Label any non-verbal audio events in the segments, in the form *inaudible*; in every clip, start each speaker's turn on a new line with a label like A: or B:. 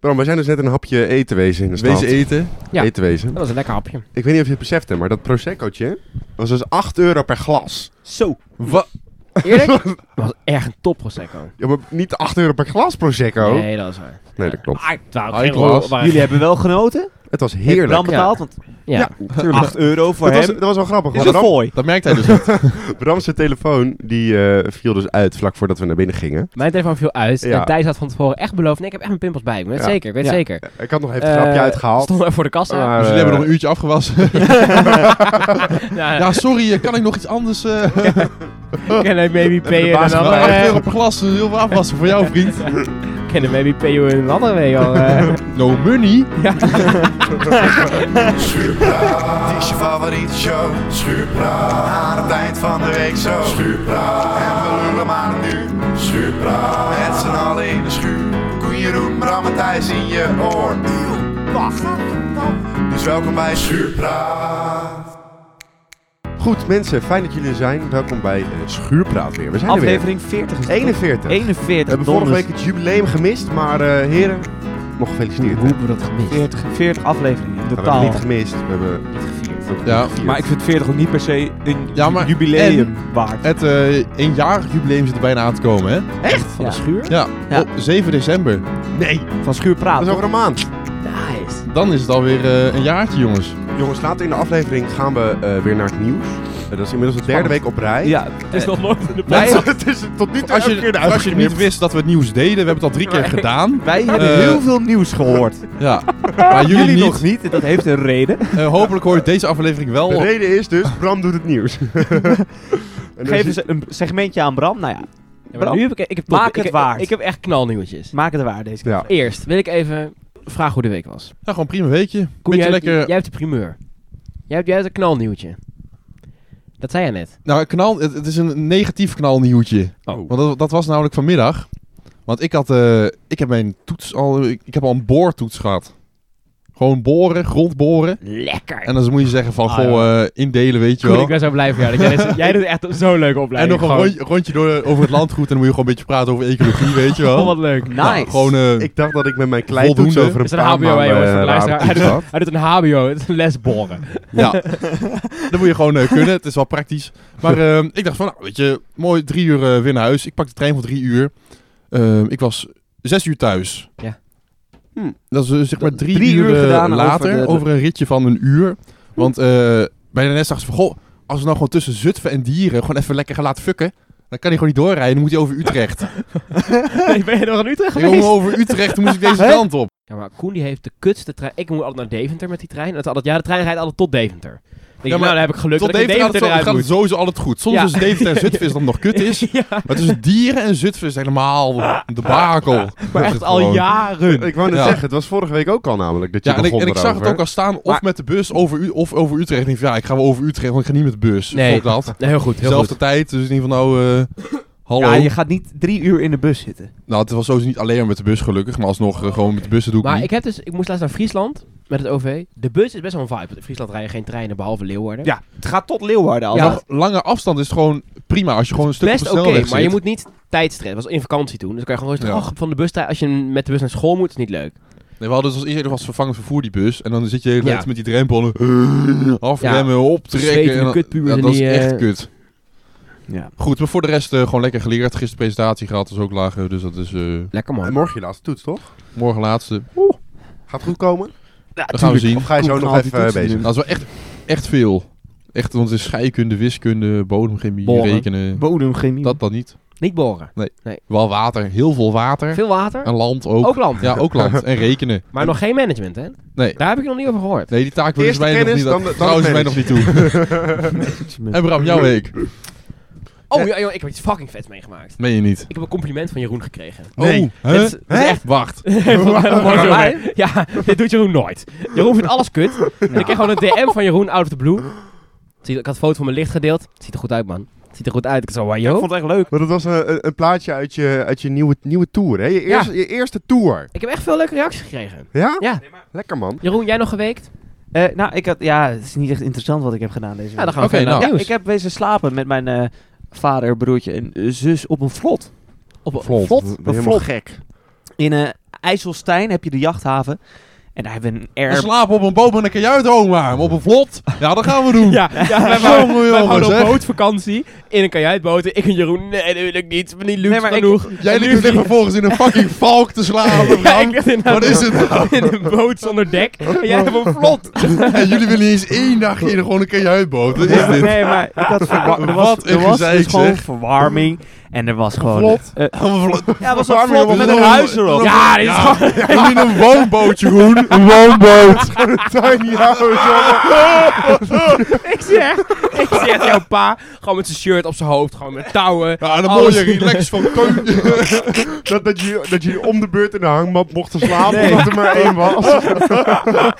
A: Bram, wij zijn dus net een hapje eten wezen in de stad.
B: Wezen eten.
C: Ja.
A: Eten wezen.
C: Dat was een lekker hapje.
A: Ik weet niet of je het besefte, maar dat proseccootje was dus 8 euro per glas.
C: Zo.
B: Wat?
C: Eerlijk? dat was echt een top Prosecco.
A: Ja, maar niet 8 euro per glas prosecco. Nee,
C: Nee, dat is waar.
A: dat klopt.
C: Ah, het waren
B: High
C: geen
B: class.
C: rollen, maar-
D: Jullie hebben wel genoten?
A: Het was
D: Heeft Bram
A: heerlijk.
D: betaald? Want
C: Ja.
A: Ja. Tuurlijk.
D: 8 euro voor
A: dat, was,
D: hem
A: dat was wel grappig.
D: is
A: want
D: een
A: Bram,
D: fooi.
B: Dat merkt hij dus niet.
A: Bram zijn telefoon die eh, viel dus uit vlak voordat we naar binnen gingen.
C: Mijn telefoon viel uit.
A: Ja.
C: En Thijs had van tevoren echt beloofd. Nee, ik heb echt mijn pimpels bij. Ik weet het
A: Ja.
C: zeker, ik weet
D: Ja.
C: het zeker.
A: Ik had nog even het grapje
C: Eh,
A: uitgehaald.
C: Stond er voor de kassa.
A: maar,
B: Dus
A: eh,
B: jullie hebben nog een uurtje afgewassen.
C: ja,
B: ja, sorry, eh, kan ik nog iets anders? eh *laughs*
C: Can I
A: de
C: maybe pay you in
A: baas gebeld.
C: another
B: Wel 8 euro
C: way?
B: per glas, eh, heel veel afwassen voor jou, vriend.
C: Can I maybe pay you in another way? joh,
A: *laughs*
C: eh?
B: No money.
E: Schuurpraat. Het is je favoriete show. Schuurpraat. Aan het eind van de week zo. Schuurpraat. En we lullen maar nu. Schuurpraat. Met z'n allen in de schuur. Koen Jeroen, Bram en Thijs in je oor. Wacht. Dus welkom bij Schuurpraat.
A: Goed, mensen, fijn dat jullie er zijn. Welkom bij eh, Schuurpraat weer. We zijn er
D: Aflevering 40 is
A: weer.
D: het.
A: 41. We
D: 41.
A: hebben vorige
D: donders.
A: week het jubileum gemist, maar eh, heren, nog gefeliciteerd.
C: Hoe hebben we dat gemist?
D: 40, 40 afleveringen in
A: We hebben
D: totaal.
A: het niet gemist, we hebben
C: Niet gevierd.
A: het
B: Ja,
A: gevierd.
D: Maar ik vind 40 ook niet per se een
B: Ja, maar-
D: jubileum waard.
B: Het eh eenjarig jubileum zit er bijna aan te komen, hè?
D: Echt? Van
C: Ja.
D: de schuur?
B: Ja,
D: Ja.
B: op 7 december.
A: Nee,
D: Van schuurpraat.
A: dat is
D: toch?
A: over Ah, een maand.
C: Nice.
B: Dan is het alweer eh, een jaartje, jongens.
A: Jongens, later in de aflevering gaan we eh, weer naar het nieuws. Eh, dat is inmiddels de derde week op rij.
D: Ja, eh,
C: Het is nog nooit in de
B: Wij-
C: podcast.
A: het is tot nu toe
B: Als
A: elke keer
B: je,
A: de
B: als je niet wist dat we het nieuws deden, we hebben het al drie keer gedaan.
D: wij hebben
B: Eh,
D: heel veel nieuws gehoord.
B: Ja, maar jullie,
D: Jullie
B: niet.
D: nog niet, en dat heeft een reden.
B: Eh, hopelijk hoor je deze aflevering wel.
A: De reden is dus, Bram doet het
B: *laughs*
A: nieuws. En dus dan
D: Geef
A: zie-
D: eens een segmentje aan Bram. Nou ja,
C: Ja, maar nu heb ik, ik heb
D: Maak
C: ik-
D: het
C: ik-
D: waard.
C: Ik heb echt knalnieuwtjes.
D: maak het waar deze keer.
A: Ja.
C: Eerst wil ik even vragen hoe de week was.
B: Ja, Nou, gewoon prima weekje.
C: Koen, jij,
B: Beetje
C: hebt,
B: lekker.
C: jij hebt de primeur. Jij hebt, jij hebt een knalnieuwtje. Dat zei jij net.
B: Nou, knal, het, het is een negatief knalnieuwtje.
C: Oh.
B: Want dat, dat was namelijk vanmiddag. Want ik had, eh, ik heb mijn toets al, ik, ik heb al een boortoets gehad. Gewoon boren, grondboren.
C: Lekker.
B: En dan moet je zeggen van,
C: Ah,
B: goh, eh, indelen, weet je
C: Koen,
B: wel.
C: ik ben zo blij voor jou.
B: *laughs*
C: Dat jij, dit- jij doet echt zo'n leuke
B: En
C: opleiding.
B: nog een rondje, rondje door, over het landgoed. En dan moet je gewoon een beetje praten over ecologie, weet je wel.
C: *laughs* Oh, wat leuk.
D: Nice.
B: Nou, gewoon, eh,
A: Ik dacht dat ik met mijn kleintoets
B: Voldoende.
A: over een
C: Het is een
A: paar
C: HBO, hè,
A: maanden...
C: jongens,
A: eh,
C: voor
A: raar
C: de luisteraar. Hij
A: toets had.
C: doet, hij doet een HBO, het is een
B: *laughs*
C: les boren.
B: Ja, dat moet je gewoon eh, kunnen. Het is wel praktisch. Maar ehm, ik dacht van, nou, weet je, mooi drie uur eh, weer naar huis. Ik pak de trein voor drie uur. Ehm, ik was zes uur thuis.
C: Ja.
A: Hm.
B: Dat is eh, zeg maar
D: Dat-
B: drie,
D: drie
B: uur,
D: uur
B: eh,
D: gedaan over
B: later, over,
D: de-
B: een ritje van een uur. Want eh, bij de nest dacht ze van, goh, als we nou gewoon tussen Zutphen en Dieren gewoon even lekker gaan laten fucken. Dan kan hij gewoon niet doorrijden, dan moet hij over Utrecht.
C: *laughs* ben je nog aan Utrecht
B: Ik wil over Utrecht, dan moest ik deze kant op.
C: Ja, maar Koen die heeft de kutste trein. Ik moet altijd naar Deventer met die trein. En het is altijd, ja, de trein rijdt altijd tot Deventer. Dan Denk
B: maar
C: ik, nou, dan heb ik geluk
B: Tot
C: dat ik
B: Deventer, gaat
C: in
B: het zo-
C: Deventer eruit
B: gaat het
C: moet.
B: sowieso altijd goed. Soms
C: Ja.
B: als Deventer en Zutphen is dan nog kut
C: *laughs*
B: is.
C: Ja,
B: Maar tussen dieren en Zutphen is helemaal een debakel.
C: maar
B: Dat
C: echt
B: is
C: al
B: gewoon. *laughs*
C: jaren.
A: Ik wou net
B: Ja.
A: zeggen, het was vorige week ook al namelijk dat je
B: Ja, en ik,
A: begon
B: en ik zag het
A: erover.
B: ook al staan, of
D: Maar-
B: met de bus over, U- of over Utrecht. Ik denk van, ja, ik ga wel over Utrecht, want ik ga niet met de bus.
C: Nee.
B: Fuck dat.
C: Nee, heel goed, heel
B: Zelfde
C: goed.
B: tijd, dus in ieder geval nou, eh, hallo.
D: Ja, je gaat niet drie uur in de bus zitten.
B: Nou, het was sowieso niet alleen maar met de bus gelukkig, maar alsnog eh, gewoon met de bussen doe ik
C: Maar
B: niet.
C: ik, heb dus, ik moest laatst naar Friesland met het OV. De bus is best wel een vibe. want In Friesland rijden geen treinen behalve Leeuwarden.
D: Ja, het gaat tot Leeuwarden al.
C: Ja.
D: Ja.
B: Nog lange afstand is het gewoon prima, als je gewoon een stuk
C: Best
B: op
C: oké,
B: de snelweg
C: maar je
B: zit.
C: moet niet tijdstress. was in vakantie toen. Dus dan kan je gewoon rustig,
B: Ja.
C: ach, van de bus tijd. Als je met de bus naar school moet, is niet leuk.
B: Nee, we hadden dus als eerder was vervangend vervoer die bus. En dan zit je de hele
C: Ja.
B: tijd met die drempel en afremmen, optrekken.
C: Zwetende
B: En dan,
C: kutpubers
B: ja,
C: en
B: dat is
C: die, eh,
B: echt kut. Goed, maar voor de rest eh, gewoon lekker geleerd. Gisteren presentatie gehad, was ook lager. Dus dat is eh,
C: Lekker
A: En
C: man.
A: morgen je laatste toets, toch?
B: morgen laatste.
A: Gaat goed komen?
B: Dat gaan we zien.
A: Of ga je zo
D: Koen
A: nog
D: haalt die
A: even eh,
D: toetsen
A: bezig?
B: Dat is wel echt, echt veel. Echt, want het is scheikunde, wiskunde, bodemchemie,
C: Boren.
B: rekenen.
D: Bodemchemie.
B: dat dan niet.
C: Niet boren.
B: Wel water, heel veel water.
C: Veel water.
B: En land ook.
C: Ook land.
B: Ja, ook land. En rekenen.
C: Maar nog geen management, hè?
B: Nee.
C: Daar heb ik nog niet over gehoord.
B: Nee, die taak willen ze
A: Eerste
B: mij
A: kennis,
B: nog niet,
A: dan de- dan
B: trouwens
A: de
B: mij nog niet toe. en Bram, jouw week.
C: Oh, ja, joh, ik heb iets fucking vets meegemaakt.
B: Meen je niet?
C: Ik heb een compliment van Jeroen gekregen.
A: Nee.
B: Oh, hè?
C: Het is- het is echt-
B: Wacht. *laughs*
C: Vond ik helemaal mooi zo, hè? ja, dit doet Jeroen nooit. Jeroen vindt alles kut. En ik kreeg gewoon een DM van Jeroen out of the blue. Zie- Ik had een foto van mijn licht gedeeld. Ziet er goed uit, man. Ziet er goed uit. Ik zo, wow,
D: Ik
C: yo.
D: vond het echt leuk.
A: Want dat was een, een- een plaatje uit je, uit je nieuwe, nieuwe tour, hè? Je eerste, je eerste tour.
C: Ik heb echt veel leuke reacties gekregen.
A: Ja?
C: Ja.
A: Lekker,
B: *laughs*
A: man. *laughs*
C: Jeroen, jij nog geweekt?
D: Eh, nou, ik had, ja, het is niet echt interessant wat ik heb gedaan deze
C: Ja,
D: week.
C: dan gaan we
B: Oké,
C: verder naar
B: nou.
C: het
D: Ja,
C: nieuws.
D: ik heb wezen slapen met mijn eh, vader, broertje en eh, zus op een vlot.
C: op
B: Vlot.
C: vlot.
A: Ben
D: Een
A: helemaal
D: vlot.
A: gek.
D: In eh, IJsselstein heb je de jachthaven. En daar hebben we een
B: We
D: air...
B: slapen op een boom en een kajuit, oma. Op een vlot. Ja, dat gaan we doen.
C: Ja, ja wij
B: Jongen,
C: waren, wij
B: jongen,
C: waren
B: zeg.
C: op bootvakantie in een kajuitboten. Ik en Jeroen, nee, dat wil ik niet. Ik Oh, ben niet luxe
D: Nee, maar ik-
C: genoeg.
B: Jij
C: En nu
B: ligt
C: vlieg-
B: er vervolgens in een fucking valk te
C: *laughs*
B: slapen.
C: Ja,
B: Bram.
C: ik lig in een-
B: Wat is het nou?
C: *laughs* in een boot zonder dek. En jij hebt een vlot.
B: En jullie willen niet eens één dagje in gewoon een kajuitboot. Wat is dit?
D: Nee, maar ik
B: *laughs*
D: had verwa- er was,
B: Wat een
D: er was
B: gezeik,
D: dus gewoon
B: zeg.
D: verwarming. En er was gewoon...
B: Vlot.
D: eh,
B: Een vlot.
D: ja, er was een
B: Verwarming
D: vlot
B: op
D: met
B: een
D: een
B: vlot.
D: huis erop.
C: Ja, dit is gewoon... *laughs*
B: En in een woonbootje, Groen. Een woonboot.
A: Een tiny house, jongen.
C: Ik zeg, ik zeg jouw pa, gewoon met zijn shirt op zijn hoofd, gewoon met touwen.
B: Ja, en een
C: Alles.
B: mooie relax van Teun.
A: Dat, dat, je, dat je om de beurt in de hangmat mochten slapen,
D: Nee.
A: omdat er maar één was.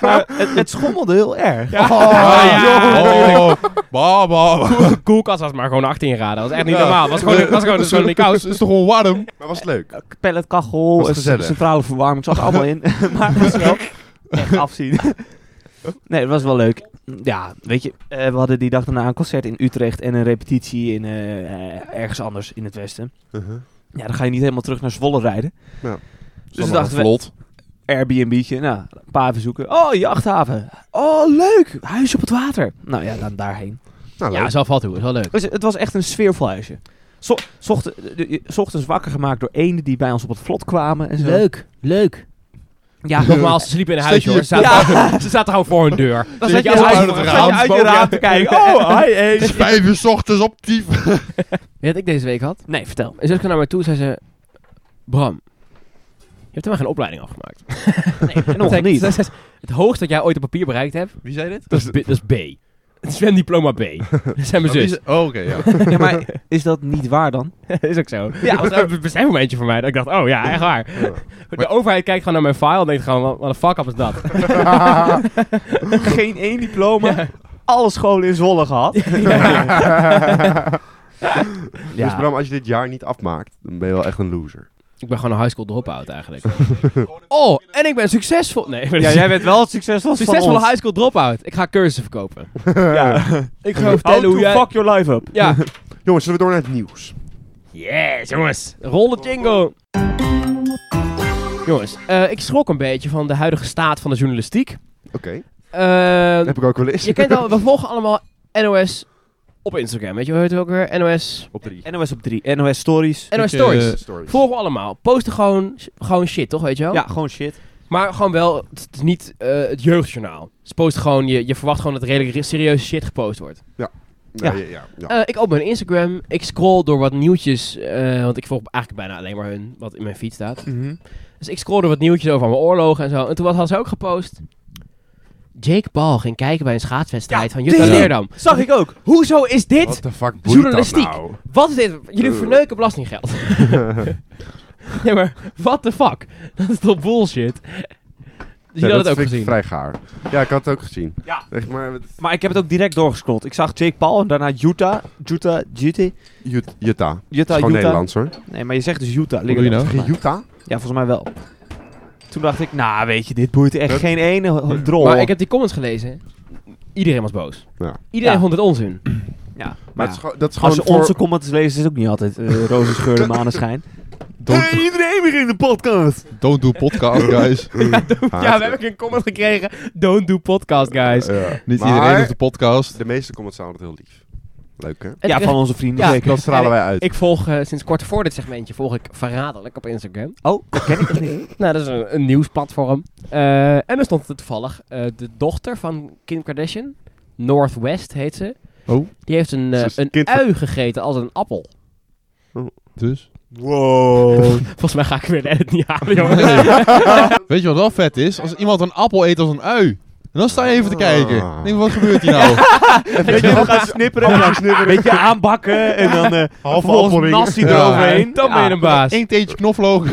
D: Maar het, het schommelde heel erg.
C: Ja.
B: *laughs* Ah,
C: ja.
B: Oh, ba, ba, ba.
C: De koelkast was maar gewoon 18 graden, dat was echt niet
B: Ja.
C: normaal. Was gewoon, was gewoon, was gewoon niet koud.
B: Het is toch gewoon warm?
A: Maar was het leuk?
D: Pelletkachel,
A: Was
D: eh,
A: gezellig.
D: centrale verwarming, het zat er allemaal
A: *laughs*
D: in. *laughs* maar het was wel echt afzien. *laughs* nee, het was wel leuk. Ja, weet je, eh, we hadden die dag daarna een concert in Utrecht en een repetitie in, eh, eh, ergens anders in het westen.
A: Uh-huh.
D: Ja, dan ga je niet helemaal terug naar Zwolle rijden.
A: Ja.
D: Dus dachten we,
B: vlot.
D: Airbnb'tje, nou, een paar verzoeken. Oh, jachthaven. Oh, leuk, huis op het water. Nou ja, dan daarheen.
A: Nou, leuk. *laughs*
C: Ja, zo valt toe, is wel leuk.
D: Dus het was echt een sfeervol huisje. Zo, zocht, de- je- 's ochtends wakker gemaakt door eenden die bij ons op het vlot kwamen en zo.
C: Leuk, leuk.
D: Ja,
C: Nogmaals, ze sliepen in een
B: Steek
C: huisje
B: je
C: hoor. Ze zaten, *laughs* ze zaten gewoon voor hun deur. Zit
D: Dan zet je,
C: als-
D: uit,
B: uit het
D: zet je
B: raam,
D: uit je
C: boven je-
D: raam te kijken. Oh, hi, hey.
B: Vijf uur 's ochtends op dief.
C: Weet je wat ik deze week had?
D: Nee, vertel.
C: Een zus kwam naar mij toe en zei ze... Bram, je hebt helemaal geen opleiding afgemaakt.
D: Nee, *laughs*
C: Zei
D: nog
C: ik- *laughs* zei
D: niet.
C: ze, Het hoogste dat jij ooit op papier bereikt hebt,
B: Wie zei dit?
C: dat is, B, dat is B. Het is zwemdiploma B. *laughs* Dat zijn mijn zus.
B: Oh, oké, ja.
D: Ja, maar is dat niet waar dan?
C: Dat *laughs* is ook zo. Ja, dat was ook een besefmomentje voor mij. Dat ik dacht, oh ja, echt waar. De overheid kijkt gewoon naar mijn file en denkt gewoon, wat- wat een fuck up is dat?
D: *laughs* Geen één *laughs* diploma. Alle scholen in Zwolle gehad.
A: Dus Bram, als je dit jaar niet afmaakt, dan ben je wel echt een loser.
C: *laughs* Ik ben gewoon een high school dropout eigenlijk. *laughs* Oh, en ik ben succesvol. Nee, maar
D: Ja, jij bent wel succesvol
C: succesvolle high school dropout. Ik ga cursussen verkopen.
D: Ja.
C: Ik ga
D: How
C: vertellen
D: to
C: hoe jij...
D: fuck your life up.
C: Ja.
A: Jongens, zullen we door naar het nieuws?
C: *laughs* Yes, jongens. Rol de jingle. Jongens, eh, ik schrok een beetje van de huidige staat van de journalistiek.
A: Oké,
C: Eh,
A: heb ik ook wel eens.
C: je kent al, we volgen allemaal NOS op Instagram. Weet je, hoe heet het ook weer? NOS,
A: Op drie.
D: NOS op 3. NOS Stories.
C: NOS
B: eh,
C: Stories.
A: Stories.
C: Volgen we allemaal. Posten gewoon, gewoon shit, toch? Weet je wel?
D: Ja, gewoon shit.
C: Maar gewoon wel, het is niet eh, het jeugdjournaal. Ze posten gewoon, je, je verwacht gewoon dat redelijk re- serieuze shit gepost wordt.
A: Ja,
D: Ja.
A: ja, ja, ja.
C: Eh, ik open mijn Instagram, ik scroll door wat nieuwtjes, eh, want ik volg eigenlijk bijna alleen maar hun, wat in mijn feed staat.
D: Mhm.
C: Dus ik scrollde wat nieuwtjes over mijn oorlogen en zo. En toen wat had ze ook gepost. Jake Paul ging kijken bij een schaatswedstrijd
D: Ja,
C: van Jutta
D: tering.
C: Leerdam.
D: Zag ik ook.
C: Hoezo is dit?
A: What the fuck boeit
C: journalistiek.
A: dat nou?
C: Wat is dit? Jullie
A: Eh.
C: verneuken
D: *laughs*
C: belastinggeld. nee, maar what the fuck? Dat is toch bullshit? Dus
A: Ja,
C: jullie hadden het ook
A: vind ik vrij
C: gezien.
A: gaar. Ja, ik had het ook gezien.
D: Ja.
A: Echt maar... het-
D: Maar ik heb het ook direct doorgescrollt. Ik zag Jake Paul en daarna Utah. Utah, Jutty.
A: Jut- Jutta. Het is
D: Utah,
A: Gewoon
D: Utah.
A: Nederlands hoor.
D: Nee, maar je zegt dus Utah.
B: Wat doe je nou?
A: Geen Utah?
D: Ja, volgens mij wel. Toen dacht ik, nou weet je, dit boeit echt geen ene ho- drol.
C: Maar ik heb die comments gelezen. Iedereen was boos.
A: Ja.
C: Iedereen
D: Ja.
C: vond het onzin.
D: ja, maar
A: Maar
D: ja.
A: het is gewoon- dat is
D: als
A: gewoon
D: je
A: voor...
D: onze comments leest, is het ook niet
A: *laughs*
D: altijd eh roze scheur en maneschijn.
B: Don't,
D: iedereen weer in de podcast!
B: don't do podcast, guys.
A: Haat.
C: Ja, we hebben ook een comment gekregen. Don't do podcast, guys.
A: Ja.
B: Niet
A: Maar
B: iedereen op de podcast.
A: De meeste comments zijn altijd heel lief. Leuk hè?
D: Ja, van onze vrienden
C: Ja.
D: zeker.
A: Dat stralen wij uit.
C: Ik volg eh, sinds kort voor dit segmentje volg ik verraderlijk op Instagram.
D: Oh, dat ken ik niet.
C: *laughs* Nou, dat is een, een nieuwsplatform. Eh, en er stond er toevallig eh, de dochter van Kim Kardashian. Northwest heet ze.
B: Oh.
C: Die heeft een, eh,
A: Ze is
C: een
A: kind van-
C: ui gegeten als een appel.
B: Dus.
D: *laughs*
A: Wow.
C: Volgens mij ga ik weer de edit niet halen, jongen.
B: Weet je wat wel vet is? Als iemand een appel eet als een ui. En dan sta je even te kijken.
A: Ah.
B: Denk, wat gebeurt hier nou?
D: Weet je, we gaan snipperen, we gaan snipperen. Beetje aanbakken en dan eh
A: Half
D: vervolgens
A: appelring.
D: nast hij
B: Ja.
D: eroverheen.
C: Dan ben je een baas.
B: Eén teentje knoflook.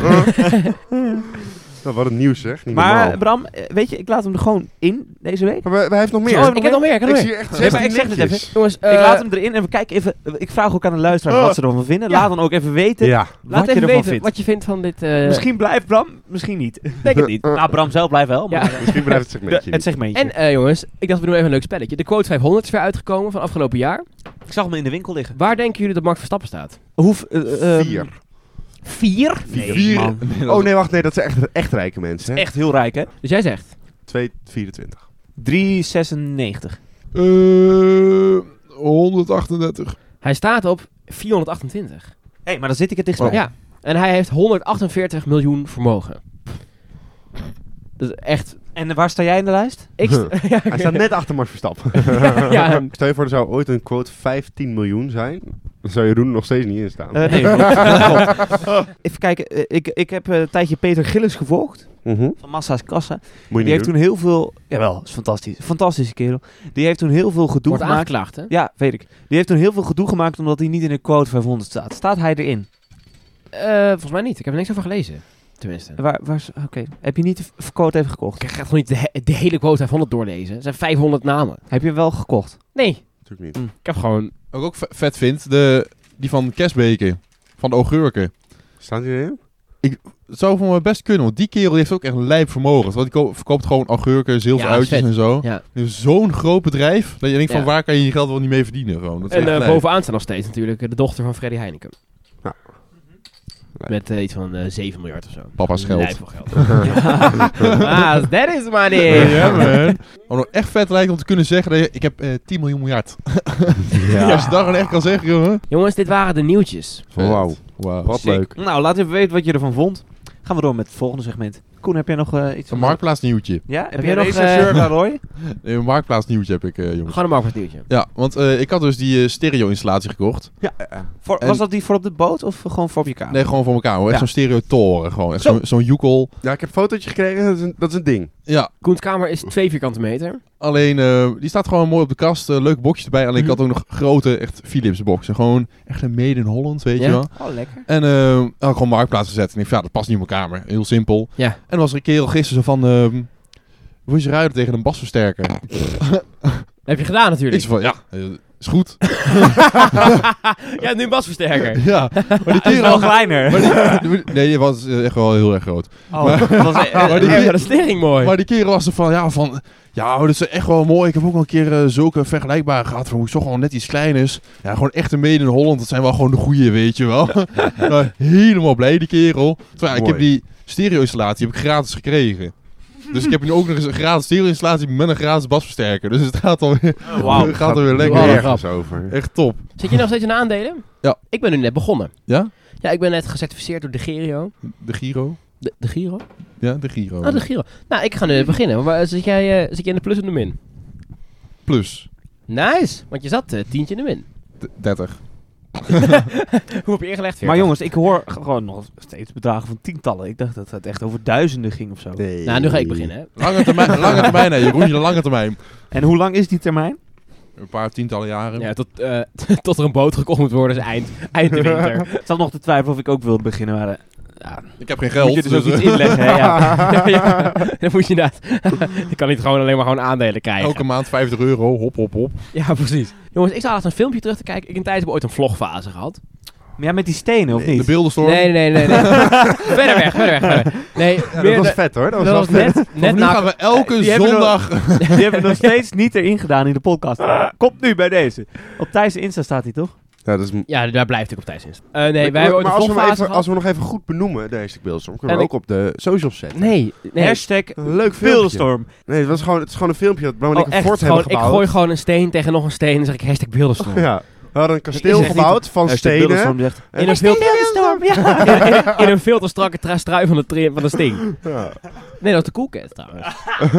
A: Nou, wat een nieuws zeg. Niet
D: Maar
A: normaal.
D: Bram, eh, weet je, ik laat hem er gewoon in deze week.
A: Maar hij heeft nog
D: Zo,
A: meer.
C: Oh, ik heb nog meer, ik heb
A: Ik
C: nog
A: zie
C: meer.
A: echt
D: Nee, maar
A: 16
D: ik zeg het
A: linkjes.
C: Jongens,
D: ik
C: eh,
D: laat hem erin en we kijken even. eh, Ik vraag ook aan de luisteraar wat ze ervan vinden. Laat dan ook even weten
A: Eh. Ja.
D: wat
C: laat
D: je
C: even
D: ervan
C: weten
D: vindt.
C: wat je vindt van dit... eh,
D: Misschien blijft Bram, misschien niet.
C: denk het niet.
D: Nou, Bram zelf blijft wel, maar
C: Ja.
A: Misschien blijft het
D: de-
A: segmentje
D: het
A: niet.
D: segmentje.
C: En eh, jongens, ik dacht we doen even een leuk spelletje. De quote 500 is weer uitgekomen van afgelopen jaar.
D: ik zag hem in de winkel liggen.
C: Waar denken jullie dat Max Verstappen staat?
D: Hoef, eh, eh,
A: Vier.
C: Vier?
D: Nee,
B: Vier-
D: man.
B: Nee, dat-
A: Oh nee, wacht, nee, dat zijn echt, echt rijke mensen. Hè?
D: Echt heel rijk, hè?
C: Dus jij zegt.
A: 2,24.
D: 3,96.
B: Eh, 138.
C: Hij staat op 428.
D: Hé, hey, maar dan zit ik het dichtstbij.
B: Oh.
C: Ja. En hij heeft 148 miljoen vermogen. Dat is echt...
D: *laughs* En waar sta *laughs* jij in de lijst?
C: Ik
A: *laughs*
C: st- ja,
A: Hij staat net achter Max Verstappen.
C: ja, en-
A: Stel je voor, er zou ooit een quote 15 miljoen zijn. Dan zou Jeroen nog steeds niet in staan.
C: *laughs*
D: Eh, nee, klopt. Even kijken, eh, ik, ik heb eh, een tijdje Peter Gillis gevolgd.
A: Mhm.
D: Van Massa's Kassa.
A: Moet je
D: Die heeft
A: niet
D: toen heel veel... Jawel, is fantastisch. Fantastische kerel. Die heeft toen heel veel gedoe
C: wordt
D: gemaakt.
C: aangeklaagd, hè?
D: Ja, weet ik. Die heeft toen heel veel gedoe gemaakt omdat hij niet in de quote 500 staat. Staat hij erin?
C: Eh, volgens mij niet. Ik heb er niks over gelezen. Tenminste.
D: Waar, waar, is- Oké. Heb je niet de v- quote even gekocht?
C: Ik ga gewoon niet de, he- de hele quota 500 doorlezen. Er zijn 500 namen.
D: Heb je hem wel gekocht?
C: Nee,
A: doen. Natuurlijk niet.
D: Mm.
C: ik heb gewoon...
B: Wat ik ook ve- vet vind, de, die van Kesbeke. Van de augurken.
A: Staat hij erin?
B: Het zou voor me best kunnen, want die kerel die heeft ook echt een lijp vermogen. Want die ko- verkoopt gewoon augurken, zilveruitjes
C: vet.
B: en zo.
C: Ja.
B: Dus zo'n groot bedrijf, dat je denkt van
C: Ja.
B: waar kan je je geld wel niet mee verdienen. Gewoon. Dat is
C: En
B: echt
C: eh,
B: lijp.
C: bovenaan staat nog steeds natuurlijk eh, de dochter van Freddy Heineken.
A: Ja.
C: Met eh, iets van eh 7 miljard of zo.
B: Papa's geld.
C: Lijp van geld. *laughs* ah, that is money.
B: *laughs* Ja, man. Wat nog echt vet lijkt om te kunnen zeggen dat je, ik heb eh 10 miljoen miljard. *laughs* Als je dat gewoon echt kan zeggen, jongen.
C: Jongens, dit waren de nieuwtjes.
A: Wauw,
B: Wauw.
A: wat
D: Sick.
A: leuk.
D: Nou, laat even weten wat je ervan vond. Gaan we door met het volgende segment. Koen, heb jij nog eh, iets?
B: Een
D: om-
B: marktplaatsnieuwtje.
D: Ja? Heb,
C: Heb
D: jij
C: jij
D: nog...
C: nog,
D: rechercheur
C: eh,
D: *laughs* Laroy?
B: Nee, Een marktplaatsnieuwtje heb ik, eh, jongens.
C: Gewoon een marktplaats nieuwtje.
B: Ja, want eh, ik had dus die eh, stereo-installatie gekocht.
D: Voor,
B: En-
D: was dat die voor op de boot of eh, gewoon voor op je kamer?
B: Nee, gewoon voor elkaar. Hoor. Echt
D: Ja.
B: zo'n stereo-toren. Gewoon. Echt
D: Zo.
B: zo'n zo'n joekel.
A: Ja, ik heb een fotootje gekregen. Dat is een, dat is een ding.
B: Ja,
C: Koens kamer is 2 vierkante meter.
B: alleen eh, die staat gewoon mooi op de kast. eh, leuk boxje erbij. Alleen ik
D: Mhm.
B: had ook nog grote, echt Philips-boxen. Gewoon echt een made in Holland, weet
C: Ja.
B: je wel.
D: Oh, lekker.
B: En eh had ik gewoon marktplaats gezet. En ik dacht, ja, dat past niet in mijn kamer. Heel simpel.
C: Ja.
B: En dan was er een kerel gisteren zo van... ehm wil je ruilen tegen een basversterker?
C: Dat heb je gedaan
B: Ik
C: natuurlijk.
B: zei van, ja, eh, is goed.
C: ja, nu een
B: *laughs*
C: basversterker.
B: ja. Maar die
D: Is wel
B: kerel...
D: kleiner.
B: maar die- *laughs* nee, die was eh, echt wel heel erg groot.
D: Oh, dat was, eh,
B: Maar die-
C: *laughs* Ja, maar dat is tering mooi.
B: Maar die kerel was er van, ja, van... Ja, oh, dat is echt wel mooi. Ik heb ook al een keer eh, zulke vergelijkbare gehad... van hoe het toch gewoon net iets klein is. Ja, gewoon echte mede in Holland. Dat zijn wel gewoon de goeie, weet je
D: *laughs*
B: wel. *laughs* nou, helemaal blij, die kerel. Terwijl, ja, ik
A: Mooi.
B: heb die stereo-installatie heb ik gratis gekregen. Dus ik heb nu ook nog eens een gratis stereo-installatie... met een gratis basversterker. Dus het gaat alweer,
D: wauw.
B: het gaat alweer lekker.
C: Wauw.
B: Echt-
A: ergens over.
B: Echt top.
C: Zit je nog steeds in aandelen?
B: Ja.
C: Ik ben nu net begonnen.
B: Ja?
C: Ja, ik ben net gecertificeerd door de Giro.
B: De Giro?
C: De, de Giro?
B: Ja, de Giro.
C: Ah, de Giro. Nou, ik ga nu beginnen. Maar eh, zit jij, eh, zit jij in de plus of de min?
B: Plus.
C: Nice, want je zat eh, tientje in de min.
B: D- 30.
C: Hoe heb je ingelegd?
D: Maar jongens, ik hoor gewoon nog steeds bedragen van tientallen. Ik dacht dat het echt over duizenden ging of zo.
A: Nee.
C: Nou, nu ga ik beginnen. Hè.
B: Lange termijn, lange termijn hè, Jeroen. Je lange termijn.
D: En hoe lang is die termijn?
B: Een paar tientallen jaren.
C: Ja, tot, eh, *laughs* tot er een boot gekocht moet worden, is eind, eind de
D: *laughs*
C: winter.
D: Ik zat nog te twijfelen of ik ook wilde beginnen, maar eh, ja,
B: Ik heb geen geld.
D: moet je dus ook
B: dus, eh,
D: iets inleggen. Hè?
C: *laughs*
D: Ja.
C: ja, dan moet je inderdaad. *laughs* je kan niet gewoon alleen maar gewoon aandelen krijgen.
B: Elke maand 50 euro, hop, hop, hop.
C: *laughs* Ja, precies. Jongens, ik zat laatst een filmpje terug te kijken. Ik in tijd heb ooit een vlogfase gehad.
D: Maar ja, met die stenen, of *laughs*
B: De
D: niet?
B: beeldenstorm.
C: Nee, nee, nee. *laughs* nee. verder weg, verder weg. Verder. weg. Nee,
A: Ja, dat
C: meer
A: was
C: de-
A: vet hoor. Dat was,
C: dat was
A: wel vet.
C: net,
B: Net
C: net
B: nu
C: na
B: gaan we elke
D: die hebben
B: zondag...
D: Die hebben we nog steeds niet erin gedaan in de podcast. Komt nu bij deze. Op Thijs' Insta staat hij, toch?
A: Ja, dat is m-
C: Ja, daar blijft ik op tijd in. Eh, nee, wij
A: maar
C: hebben ooit een
A: als we, hem
C: vlogfase
A: even,
C: gehad.
A: als we hem nog even goed benoemen, deze beeldstorm, kunnen we
C: En
A: ook op de socials zetten.
C: Nee, nee.
D: Hashtag
A: Een leuk filmpje.
D: Beeldenstorm.
A: Nee, het, was gewoon, het is gewoon een filmpje dat Bram en
C: Oh,
A: ik een
C: echt,
A: fort
C: gewoon,
A: hebben
C: ik
A: gebouwd.
C: gooi gewoon een steen tegen nog een steen en zeg ik hashtag beeldenstorm.
A: *laughs* Ja. We hadden een
C: Is
A: kasteel
C: echt
A: gebouwd van
D: Hashtag
A: stenen.
D: Beeldenstorm die zegt,
A: En
C: In, een veel, *laughs* in, in- in een veel te strakke tra- strui van de, tri- van de sting.
A: Ja.
C: Nee, dat was de Cool Cat
A: *laughs*
C: trouwens.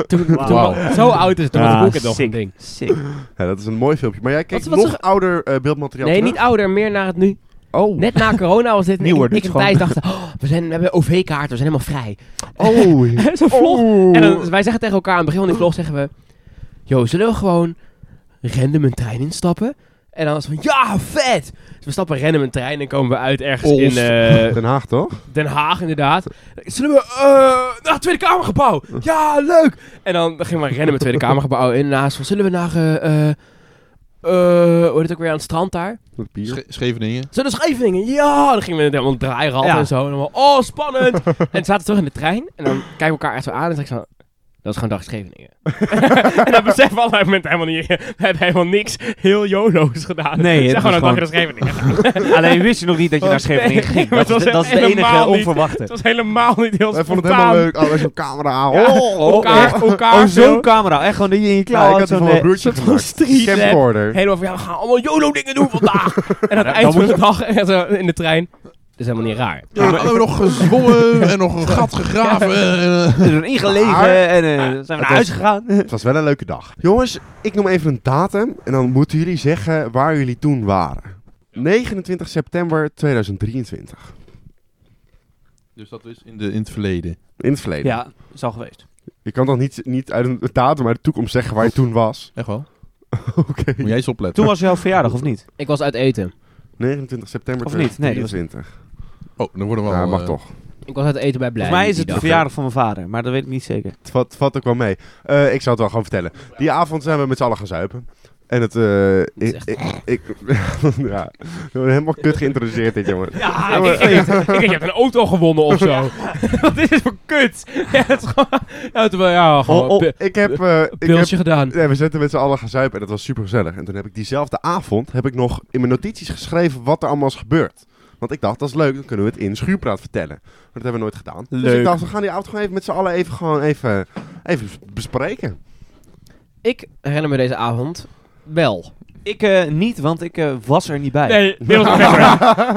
C: Toen, toen
B: Wauw.
C: was- zo oud is het, toen was de
D: Ah,
C: Cool Cat nog
D: sick.
C: een ding.
D: Sick.
A: Ja, dat is een mooi filmpje. Maar jij kijkt
C: Wat- wat
A: nog
C: ze-
A: ouder eh, beeldmateriaal
C: Nee,
A: terug?
C: niet ouder, meer naar het nu.
A: Oh.
C: Net na corona was
D: *laughs*
C: dit.
D: Nieuwer
C: ik,
D: dus
C: ik en
D: gewoon.
C: Thijs dachten, oh, we, zijn, we hebben OV-kaart, we zijn helemaal vrij.
A: Oh.
C: *laughs* Zo'n vlog.
A: Oh.
C: En dan, dus wij zeggen tegen elkaar aan het begin van die vlog, zeggen we... Yo, zullen we gewoon random een trein instappen? En dan is het van, ja, vet! Dus we stappen random een trein en komen we uit ergens in
B: Olst.
C: eh,
D: *laughs*
A: Den Haag toch?
C: Den Haag, inderdaad. Zullen we eh naar het Tweede Kamergebouw? Ja, leuk! En dan gingen we random het Tweede Kamergebouw in. En daarnaast van, zullen we naar... eh, eh, eh, hoe heet het ook weer aan het strand daar?
A: Met bier.
B: Sche- Scheveningen.
C: Zullen we Scheveningen? Ja! Dan gingen we helemaal een draairad
D: Ja. *laughs*
C: en zo. En dan, oh, spannend! en toen zaten we terug in de trein. En dan kijken we elkaar echt zo aan en zeg ik zo... Dat is gewoon dag
D: *laughs*
C: Scheveningen. en dat beseffen we op dat moment helemaal niet. We hebben helemaal niks heel jolo's gedaan.
D: Nee,
C: we
D: het
C: zijn gewoon
D: was
C: naar dag
D: *laughs*
C: Scheveningen. gegaan.
D: Alleen ah, wist je nog niet dat je naar Scheveningen
C: *laughs* Nee,
D: ging.
C: maar
D: Dat,
C: het
D: is-
C: was
D: dat is de
C: helemaal
D: enige
C: niet.
D: onverwachte.
C: Het was helemaal niet heel
A: Wij
C: spontaan.
A: vonden het helemaal leuk. Oh, wij zo'n camera aan.
C: Ja,
A: Oh,
C: elkaar, elkaar
D: Oh,
C: zo
D: zo'n camera. Echt gewoon die je in je
A: ja,
D: klauw
A: ik had
D: had. Zo'n
A: ervan een
D: eh,
A: broertje
C: soort van
A: gemaakt.
C: street lab.
A: Camcorder.
C: Helemaal van, ja, we gaan allemaal YOLO dingen doen vandaag. en aan het eind van de dag *laughs* en zo in de trein. Dat is helemaal niet raar.
B: Ja, we hebben nog gezwommen en nog een gat gegraven. en, eh,
D: *laughs* erin
A: Maar-
D: gelegen en eh, zijn we naar
A: was-
D: huis gegaan.
A: Het was wel een leuke dag. Jongens, ik noem even een datum en dan moeten jullie zeggen waar jullie toen waren. 29 september 2023.
B: dus dat is in, de, in het verleden.
A: In het verleden.
D: Ja, is al geweest.
A: Je kan toch niet, niet uit een datum uit de toekomst zeggen waar je toen
D: *laughs*
A: was?
B: Echt wel?
A: Oké.
B: Moet jij eens opletten.
D: Toen was jouw verjaardag, of niet?
C: Ik was uit eten.
A: 29 september
D: Of niet? Nee, dat was-
A: 2023.
B: Oh, dan worden we
A: Ja,
B: al,
A: mag
B: eh,
A: toch.
C: Ik was uit eten bij Blij.
D: Volgens mij is
C: die
D: het de
C: dag.
D: verjaardag van mijn vader, maar dat weet ik niet zeker.
A: Het vat, vat ook wel mee. Eh, ik zal het wel gewoon vertellen. Die avond zijn we met z'n allen gaan zuipen. En het... eh ik,
C: echt-
A: ik, ik- *laughs* ja, we worden helemaal kut geïntroduceerd dit, jongen.
C: Ja, ik, ik, ik, ik- ik heb een auto gewonnen of zo. *laughs* Wat is dit voor kut? ja, het is gewoon... Ja, toen, ja, gewoon
A: Oh, oh,
C: een pi-
A: ik heb... eh, ik heb
C: pilsje gedaan.
A: Nee, we zitten met z'n allen gaan zuipen en dat was super gezellig. En toen heb ik diezelfde avond heb ik nog in mijn notities geschreven wat er allemaal is gebeurd. Want ik dacht, dat is leuk, dan kunnen we het in schuurpraat vertellen. Maar dat hebben we nooit gedaan. Dus
D: Leuk.
A: ik dacht, we gaan die avond gewoon even met z'n allen even, gewoon even, even bespreken.
C: Ik herinner me deze avond wel.
D: Ik eh, niet, want ik eh, was er niet bij.
C: Nee, *laughs* dit was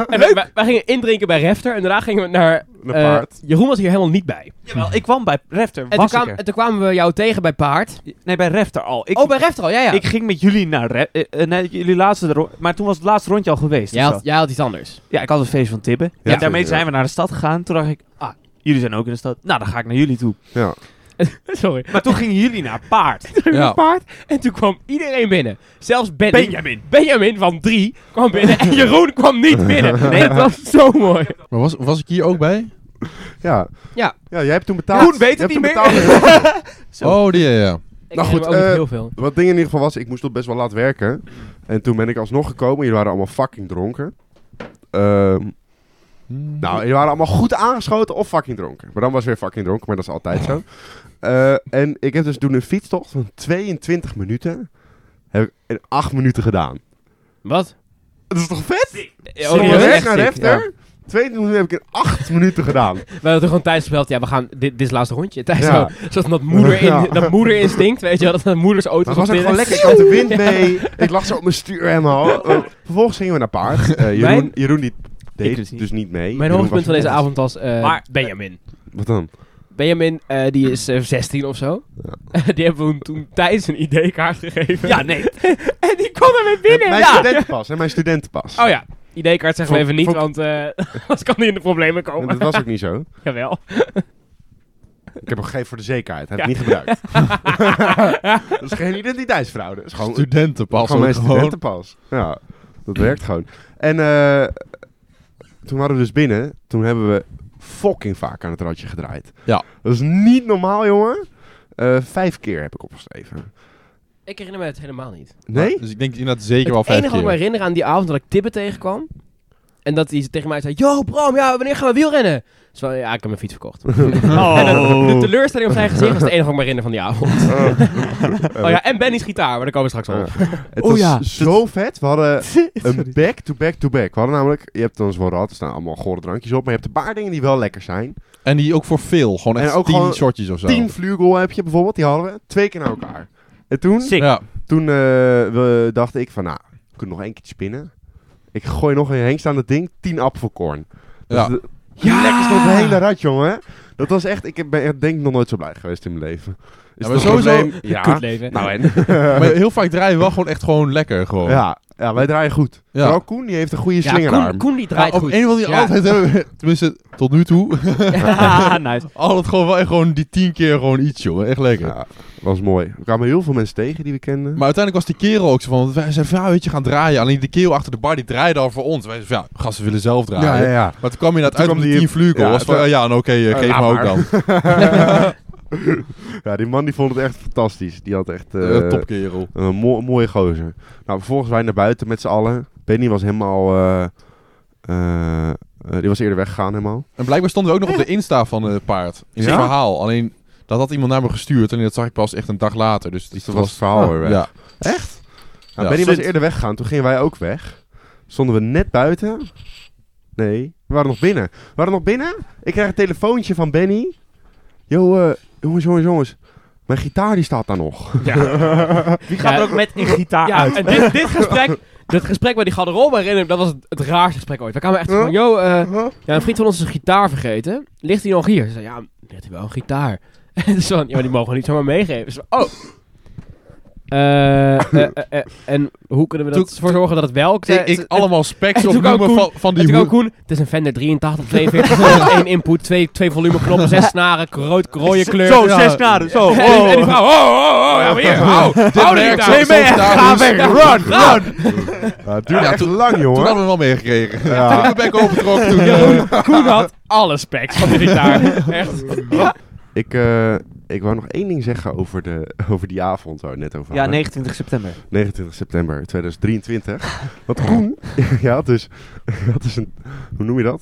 C: en wij, wij- wij gingen indrinken bij Refter en daarna gingen we naar...
A: Naar
C: eh,
A: paard.
C: Jeroen was hier helemaal niet bij.
D: Jawel, ik kwam bij Refter.
C: En toen,
D: was ik
C: kwam-
D: er.
C: en toen kwamen we jou tegen bij Paard.
D: Nee, bij Refter al. Ik,
C: oh, bij Refter al, ja, ja.
D: ik ging met jullie naar Re- eh, eh, nee, jullie laatste ro- Maar toen was het laatste rondje al geweest.
C: jij,
D: of
C: had,
D: zo.
C: jij had iets anders.
D: Ja, ik had een feest van Tibben.
A: Ja,
D: en daarmee
A: ja.
D: zijn we naar de stad gegaan. Toen dacht ik, ah, jullie zijn ook in de stad. Nou, dan ga ik naar jullie toe.
A: Ja.
C: *laughs* Sorry.
D: Maar toen gingen jullie naar Paard.
B: Ja.
C: Paard. En toen kwam iedereen binnen. Zelfs ben
D: Benjamin.
C: Benjamin van 3 kwam binnen en Jeroen kwam
B: *laughs*
C: niet binnen. Nee, dat was zo mooi.
B: Maar was, was ik hier ook bij?
A: Ja.
C: Ja.
A: ja, jij hebt toen betaald.
D: Groen weet het
A: Jij hebt
D: niet
A: toen
D: meer.
A: betaald.
C: Zo.
B: Oh, die, ja, ja.
C: Ik
A: Nou
C: herinner me
A: goed,
C: ook niet
A: eh,
C: heel veel.
A: Wat ding in ieder geval was, ik moest tot best wel laat werken. En toen ben ik alsnog gekomen, jullie waren allemaal fucking dronken. Ehm,
B: Hmm.
A: Nou, jullie waren allemaal goed aangeschoten of fucking dronken. Maar dan was weer fucking dronken, maar dat is altijd zo. Eh, en ik heb dus toen een fietstocht van 22 minuten. Heb ik in 8 minuten gedaan.
C: Wat?
A: Dat is toch vet?
C: Ja,
A: Van
C: oh,
D: serieus?
C: dat
A: rechts
C: is
A: naar
C: echt sick.
A: rechter. 22 minuten heb ik in 8 minuten
C: *laughs*
A: gedaan.
C: We hadden gewoon Thijs gebeld, ja, we gaan, dit, dit is het laatste rondje. Thijs
A: Ja.
C: zo, zoals dat,
A: *laughs*
C: moeder in,
A: Ja.
C: dat moederinstinct, weet je wel, dat de moeders auto
A: Dat was ook gewoon lekker. Ik had de wind
C: *laughs*
A: mee. Ik lag zo op mijn stuur helemaal. Eh, vervolgens gingen we naar paard. Eh, Jeroen,
D: Mijn-
A: Jeroen die deed
D: Ik dus niet.
A: dus niet mee.
C: Mijn
A: Jeroen
C: hoogtepunt
A: was-
C: van deze avond was eh,
D: Maar-
C: Benjamin.
A: Wat dan?
C: Benjamin, eh, die is eh, 16 of zo. *laughs* die hebben we toen Thijs een ID-kaart gegeven.
D: Ja, nee.
C: *laughs* En die kwam ermee binnen.
A: Mijn
C: ja.
A: studentenpas. Hè, mijn studentenpas.
C: Oh ja, ID-kaart zeggen we
A: Vond-
C: even niet,
A: vond-
C: want eh, *laughs* anders kan hij in de problemen
A: En
C: komen.
A: dat was ook niet zo.
C: Jawel.
A: Ik heb hem gegeven voor de zekerheid. Hij
C: Ja.
A: heeft het niet gebruikt.
C: *laughs*
A: dat is geen identiteitsfraude. Dat is gewoon,
B: Studentenpas.
A: gewoon
B: ook
A: mijn
B: Gewoon.
A: studentenpas. Ja, dat werkt gewoon. En eh, toen waren we dus binnen. Toen hebben we fucking vaak aan het randje gedraaid.
B: Ja.
A: Dat is niet normaal, jongen. Eh, vijf keer heb ik opgeschreven.
C: Ik herinner me het helemaal niet.
A: Nee?
B: Dus ik denk inderdaad zeker wel
C: het
B: vijf
C: enige wat
B: keer.
C: ik me herinner aan die avond dat ik Tibbe tegenkwam. En dat hij tegen mij zei, yo Bram, ja, wanneer gaan we wielrennen? Dus van, ja, ik heb mijn fiets verkocht. En dat- de teleurstelling op zijn gezicht was het enige wat ik me herinner van die avond.
A: *laughs*
C: Oh ja, en Benny's gitaar, maar daar komen we straks
A: Ja.
C: op.
A: Eh, Het
D: Oh
A: was
D: ja.
A: zo vet. We
C: *laughs*
A: hadden een back to back to back. We hadden namelijk, je hebt dan zo'n rad, er staan allemaal gore drankjes op. Maar je hebt een paar dingen die wel lekker zijn.
B: En die ook voor veel. Gewoon
A: En
B: echt
A: ook
B: tien
A: gewoon
B: shortjes of zo.
A: 10 vlugel heb je bijvoorbeeld, die hadden we. Twee keer naar elkaar. En toen,
D: Sick.
B: Ja.
A: toen eh, we, dacht ik van, nou, we kunnen nog één keertje spinnen. Ik gooi nog een hengst aan dat ding, 10 appelkorn. Dus
B: Ja.
A: de- Hoe lekker is dat een hele rat, jongen. Dat was echt, ik heb- ben echt, denk ik nog nooit zo blij geweest in mijn leven. Is
B: maar
A: dat een
B: sowieso-
A: probleem? Ja.
C: Kutleven.
A: *laughs* Nou en? *laughs*
B: Maar heel vaak draaien we wel gewoon echt gewoon lekker. Gewoon.
A: ja. ja, wij draaien goed.
B: Ja.
A: Vooral Koen, die heeft een goede
C: ja,
A: slingeraarm.
C: Koen, Koen die
B: Ja,
C: draait
B: Nou, op
C: goed.
B: een of andere
C: Ja.
B: manier altijd hebben we, tenminste tot nu toe, *laughs*
D: Ah, nice.
B: altijd gewoon wel echt gewoon die tien keer gewoon iets, jongen. Echt lekker.
A: Ja, was mooi. Er kwamen heel veel mensen tegen die we kenden.
B: Maar uiteindelijk was die kerel ook zo van, wij zeiden van, ja, weet je, gaan draaien. Alleen die kerel achter de bar, die draaide al voor ons. Wij zeiden van, ja, gasten willen zelf draaien.
A: ja, ja, ja.
B: Maar toen kwam je
A: Toen
B: inderdaad uit
A: kwam
B: om die
A: die-
B: 10 vlugel.
A: ja,
B: was van,
A: toen-
B: eh, ja, nou, oké, eh,
A: Eh,
B: geef
A: laat
B: me ook
A: maar.
B: dan.
A: *laughs* ja, die man die vond het echt fantastisch. Die had echt... eh,
B: *laughs* Eh, topkerel.
A: Een mo- mooie gozer. Nou, vervolgens wij naar buiten met z'n allen. Benny was helemaal... eh, eh, eh, die was eerder weggegaan helemaal.
B: En blijkbaar stonden we ook nog op de Insta van het eh, paard. In zijn
A: Ja?
B: verhaal. Alleen, Dat had iemand naar me gestuurd en dat zag ik pas echt een dag later. Dus
A: Dus toen was het verhaal weer weg.
B: Ja.
A: Echt? Nou,
B: Ja.
A: Benny was
D: Zit.
A: eerder weggegaan. Toen gingen wij ook weg. Stonden we net buiten. Nee, we waren nog binnen. We waren nog binnen. Ik krijg een telefoontje van Benny. Yo, eh, jongens, jongens, jongens. Mijn gitaar die staat daar nog.
D: Die gaat
C: Ja.
D: er ook met een gitaar
C: Ja,
D: uit.
C: en dit, dit gesprek, dat gesprek waar die garderobe herinner, ik, dat was het, het raarste gesprek ooit. We kwamen echt van, yo, eh, ja, een vriend van ons is een gitaar vergeten. Ligt hij nog hier? Ze zei, ja, heeft hij wel een gitaar? *laughs* En dus van, ja, maar die mogen we niet zomaar meegeven. Ze van, oh. Eh, eh, eh, eh, en hoe kunnen we
B: Toen-
C: ervoor zorgen dat het wel...
B: Ik, ik allemaal specs
C: en toen kwam
B: opnoemen van,
C: Koen-
B: van
C: en
B: die
C: toen kwam
B: hoed.
C: Koen, het is een Fender 83, 42, 1 input, 2, 2 volumeknoppen, 6 snaren, rood, rode kleur.
D: Zo,
B: Ja.
D: zes knaren. Zo.
C: En, die- en die vrouw, oh, oh, oh, ja, maar hier, hou,
B: Dit
C: hou die
B: werkt
C: gitaar.
B: zo, zo gitaar is.
C: run, run.
A: Ja, het duurde
B: Ja,
A: echt
B: nou, toen-
A: lang,
B: Toen
A: jongen.
B: hadden we wel meegekregen.
A: Ja.
B: Toen ik mijn bek opentrok.
C: *laughs*
B: Toen, eh,
C: Jeroen, Koen
B: *laughs*
C: had alle specs van de gitaar. *laughs* Echt.
A: Ik, eh, ik wou nog één ding zeggen over, de, *laughs* over die avond waar we het net over
D: Ja,
A: hadden.
D: 29 september.
A: 29 september
D: *laughs*
A: 2023. Want Koen, *laughs* ja, had dus, je had dus een, hoe noem je dat?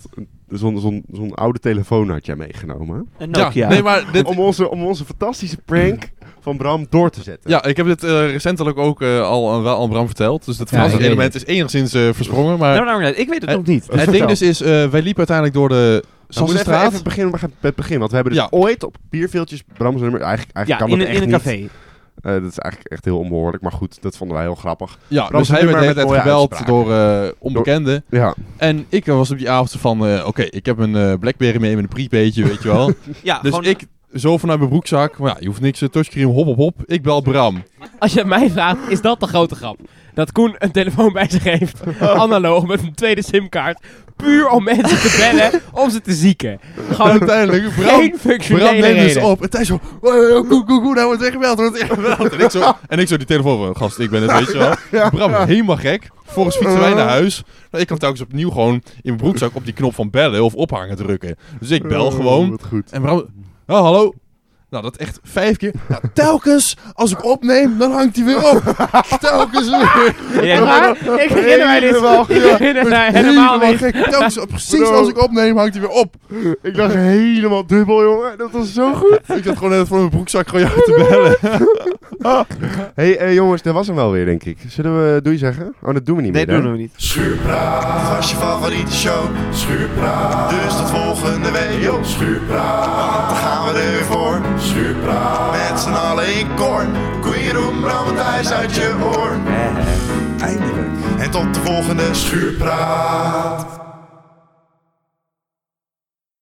A: Zo'n zo'n zo'n oude telefoon had jij meegenomen.
D: Een
B: ja,
D: Nokia.
B: nee, maar dit,
A: Om onze, om onze fantastische prank van Bram door te zetten.
B: Ja, ik heb dit eh, recentelijk ook eh, al aan, wel aan Bram verteld. Dus dat
C: Ja,
B: Franse
C: ik weet
B: element is enigszins eh, versprongen. Maar
D: Nou, nou, nou, ik weet het
B: Eh,
D: nog niet. Dus
B: het ding
D: vertel.
B: dus is, eh, wij liepen uiteindelijk door de
A: Dan moeten we even,
B: Sassenstraat.
A: even beginnen met het begin. Want we hebben dus
B: Ja.
A: ooit op bierveeltjes Bram's nummer... Eigenlijk,
D: Ja,
A: eigenlijk kan
D: in,
A: dat
D: een- in een
A: echt niet.
D: café.
A: Eh, dat is eigenlijk echt heel onbehoorlijk. Maar goed, dat vonden wij heel grappig.
B: Ja,
A: Bram
B: dus
A: zit
B: hij
A: nu
B: werd
A: maar
B: net
A: met mooie
B: gebeld
A: uitspraken.
B: door eh, onbekenden.
A: Ja.
B: En ik was op die avond zo van, eh, oké, ik heb een eh, Blackberry mee met een prepaidje, weet je
A: *laughs*
B: wel.
D: Ja,
B: dus
D: gewoon-
B: ik, zo vanuit mijn broekzak, maar ja, je hoeft niks, eh, touchscreen, hop, hop, hop. Ik bel Bram.
C: Als je mij vraagt, is dat de grote grap? Dat Koen een telefoon bij zich
B: *laughs*
C: heeft, analoog met een tweede simkaart, puur om mensen te bellen om ze te zieken. Gewoon
B: Uiteindelijk, Bram,
C: geen
B: Bram
C: functionele
B: neemt dus
C: reden.
B: op. En Thijs zo, "Oh, oh, koe, koe, koe, hij wordt weggebeld, hij wordt weggebeld." En ik zo, en ik zo die telefoon van, gast, ik ben het, weet je wel. Bram, helemaal gek. Volgens fietsen wij naar huis. Nou, ik kan telkens opnieuw gewoon in mijn broekzak op die knop van bellen of ophangen drukken. Dus ik bel gewoon.
A: Oh, wat goed.
B: En Bram, oh, hallo. Nou, dat echt vijf keer. Nou, telkens als ik opneem, dan hangt hij *laughs* weer op. telkens weer.
D: Ja,
B: *laughs*
C: Maar ik herinner mij dit. *laughs* Ik herinner mij helemaal
B: Helemaal
C: niet.
B: gek. Telkens, precies
A: Bro.
B: als ik opneem, hangt hij weer op.
A: Ik dacht helemaal dubbel, jongen. Dat was zo
D: *laughs*
A: goed.
B: Ik zat gewoon net voor mijn broekzak gewoon jou te bellen.
A: Hé, hey, eh, jongens, dat was hem wel weer, denk ik. Zullen we doei zeggen? Oh, dat doen we niet
D: Nee,
A: meer. hè?
D: doen we niet.
E: Schuurpraat was je favoriete show. Schuurpraat. Dus tot volgende week op Schuurpraat. Want dan gaan we er weer voor. Schuurpraat. Met z'n allen in koor. Kun je roem, Bram en Thijs uit je oor. Eindelijk. En tot de volgende Schuurpraat.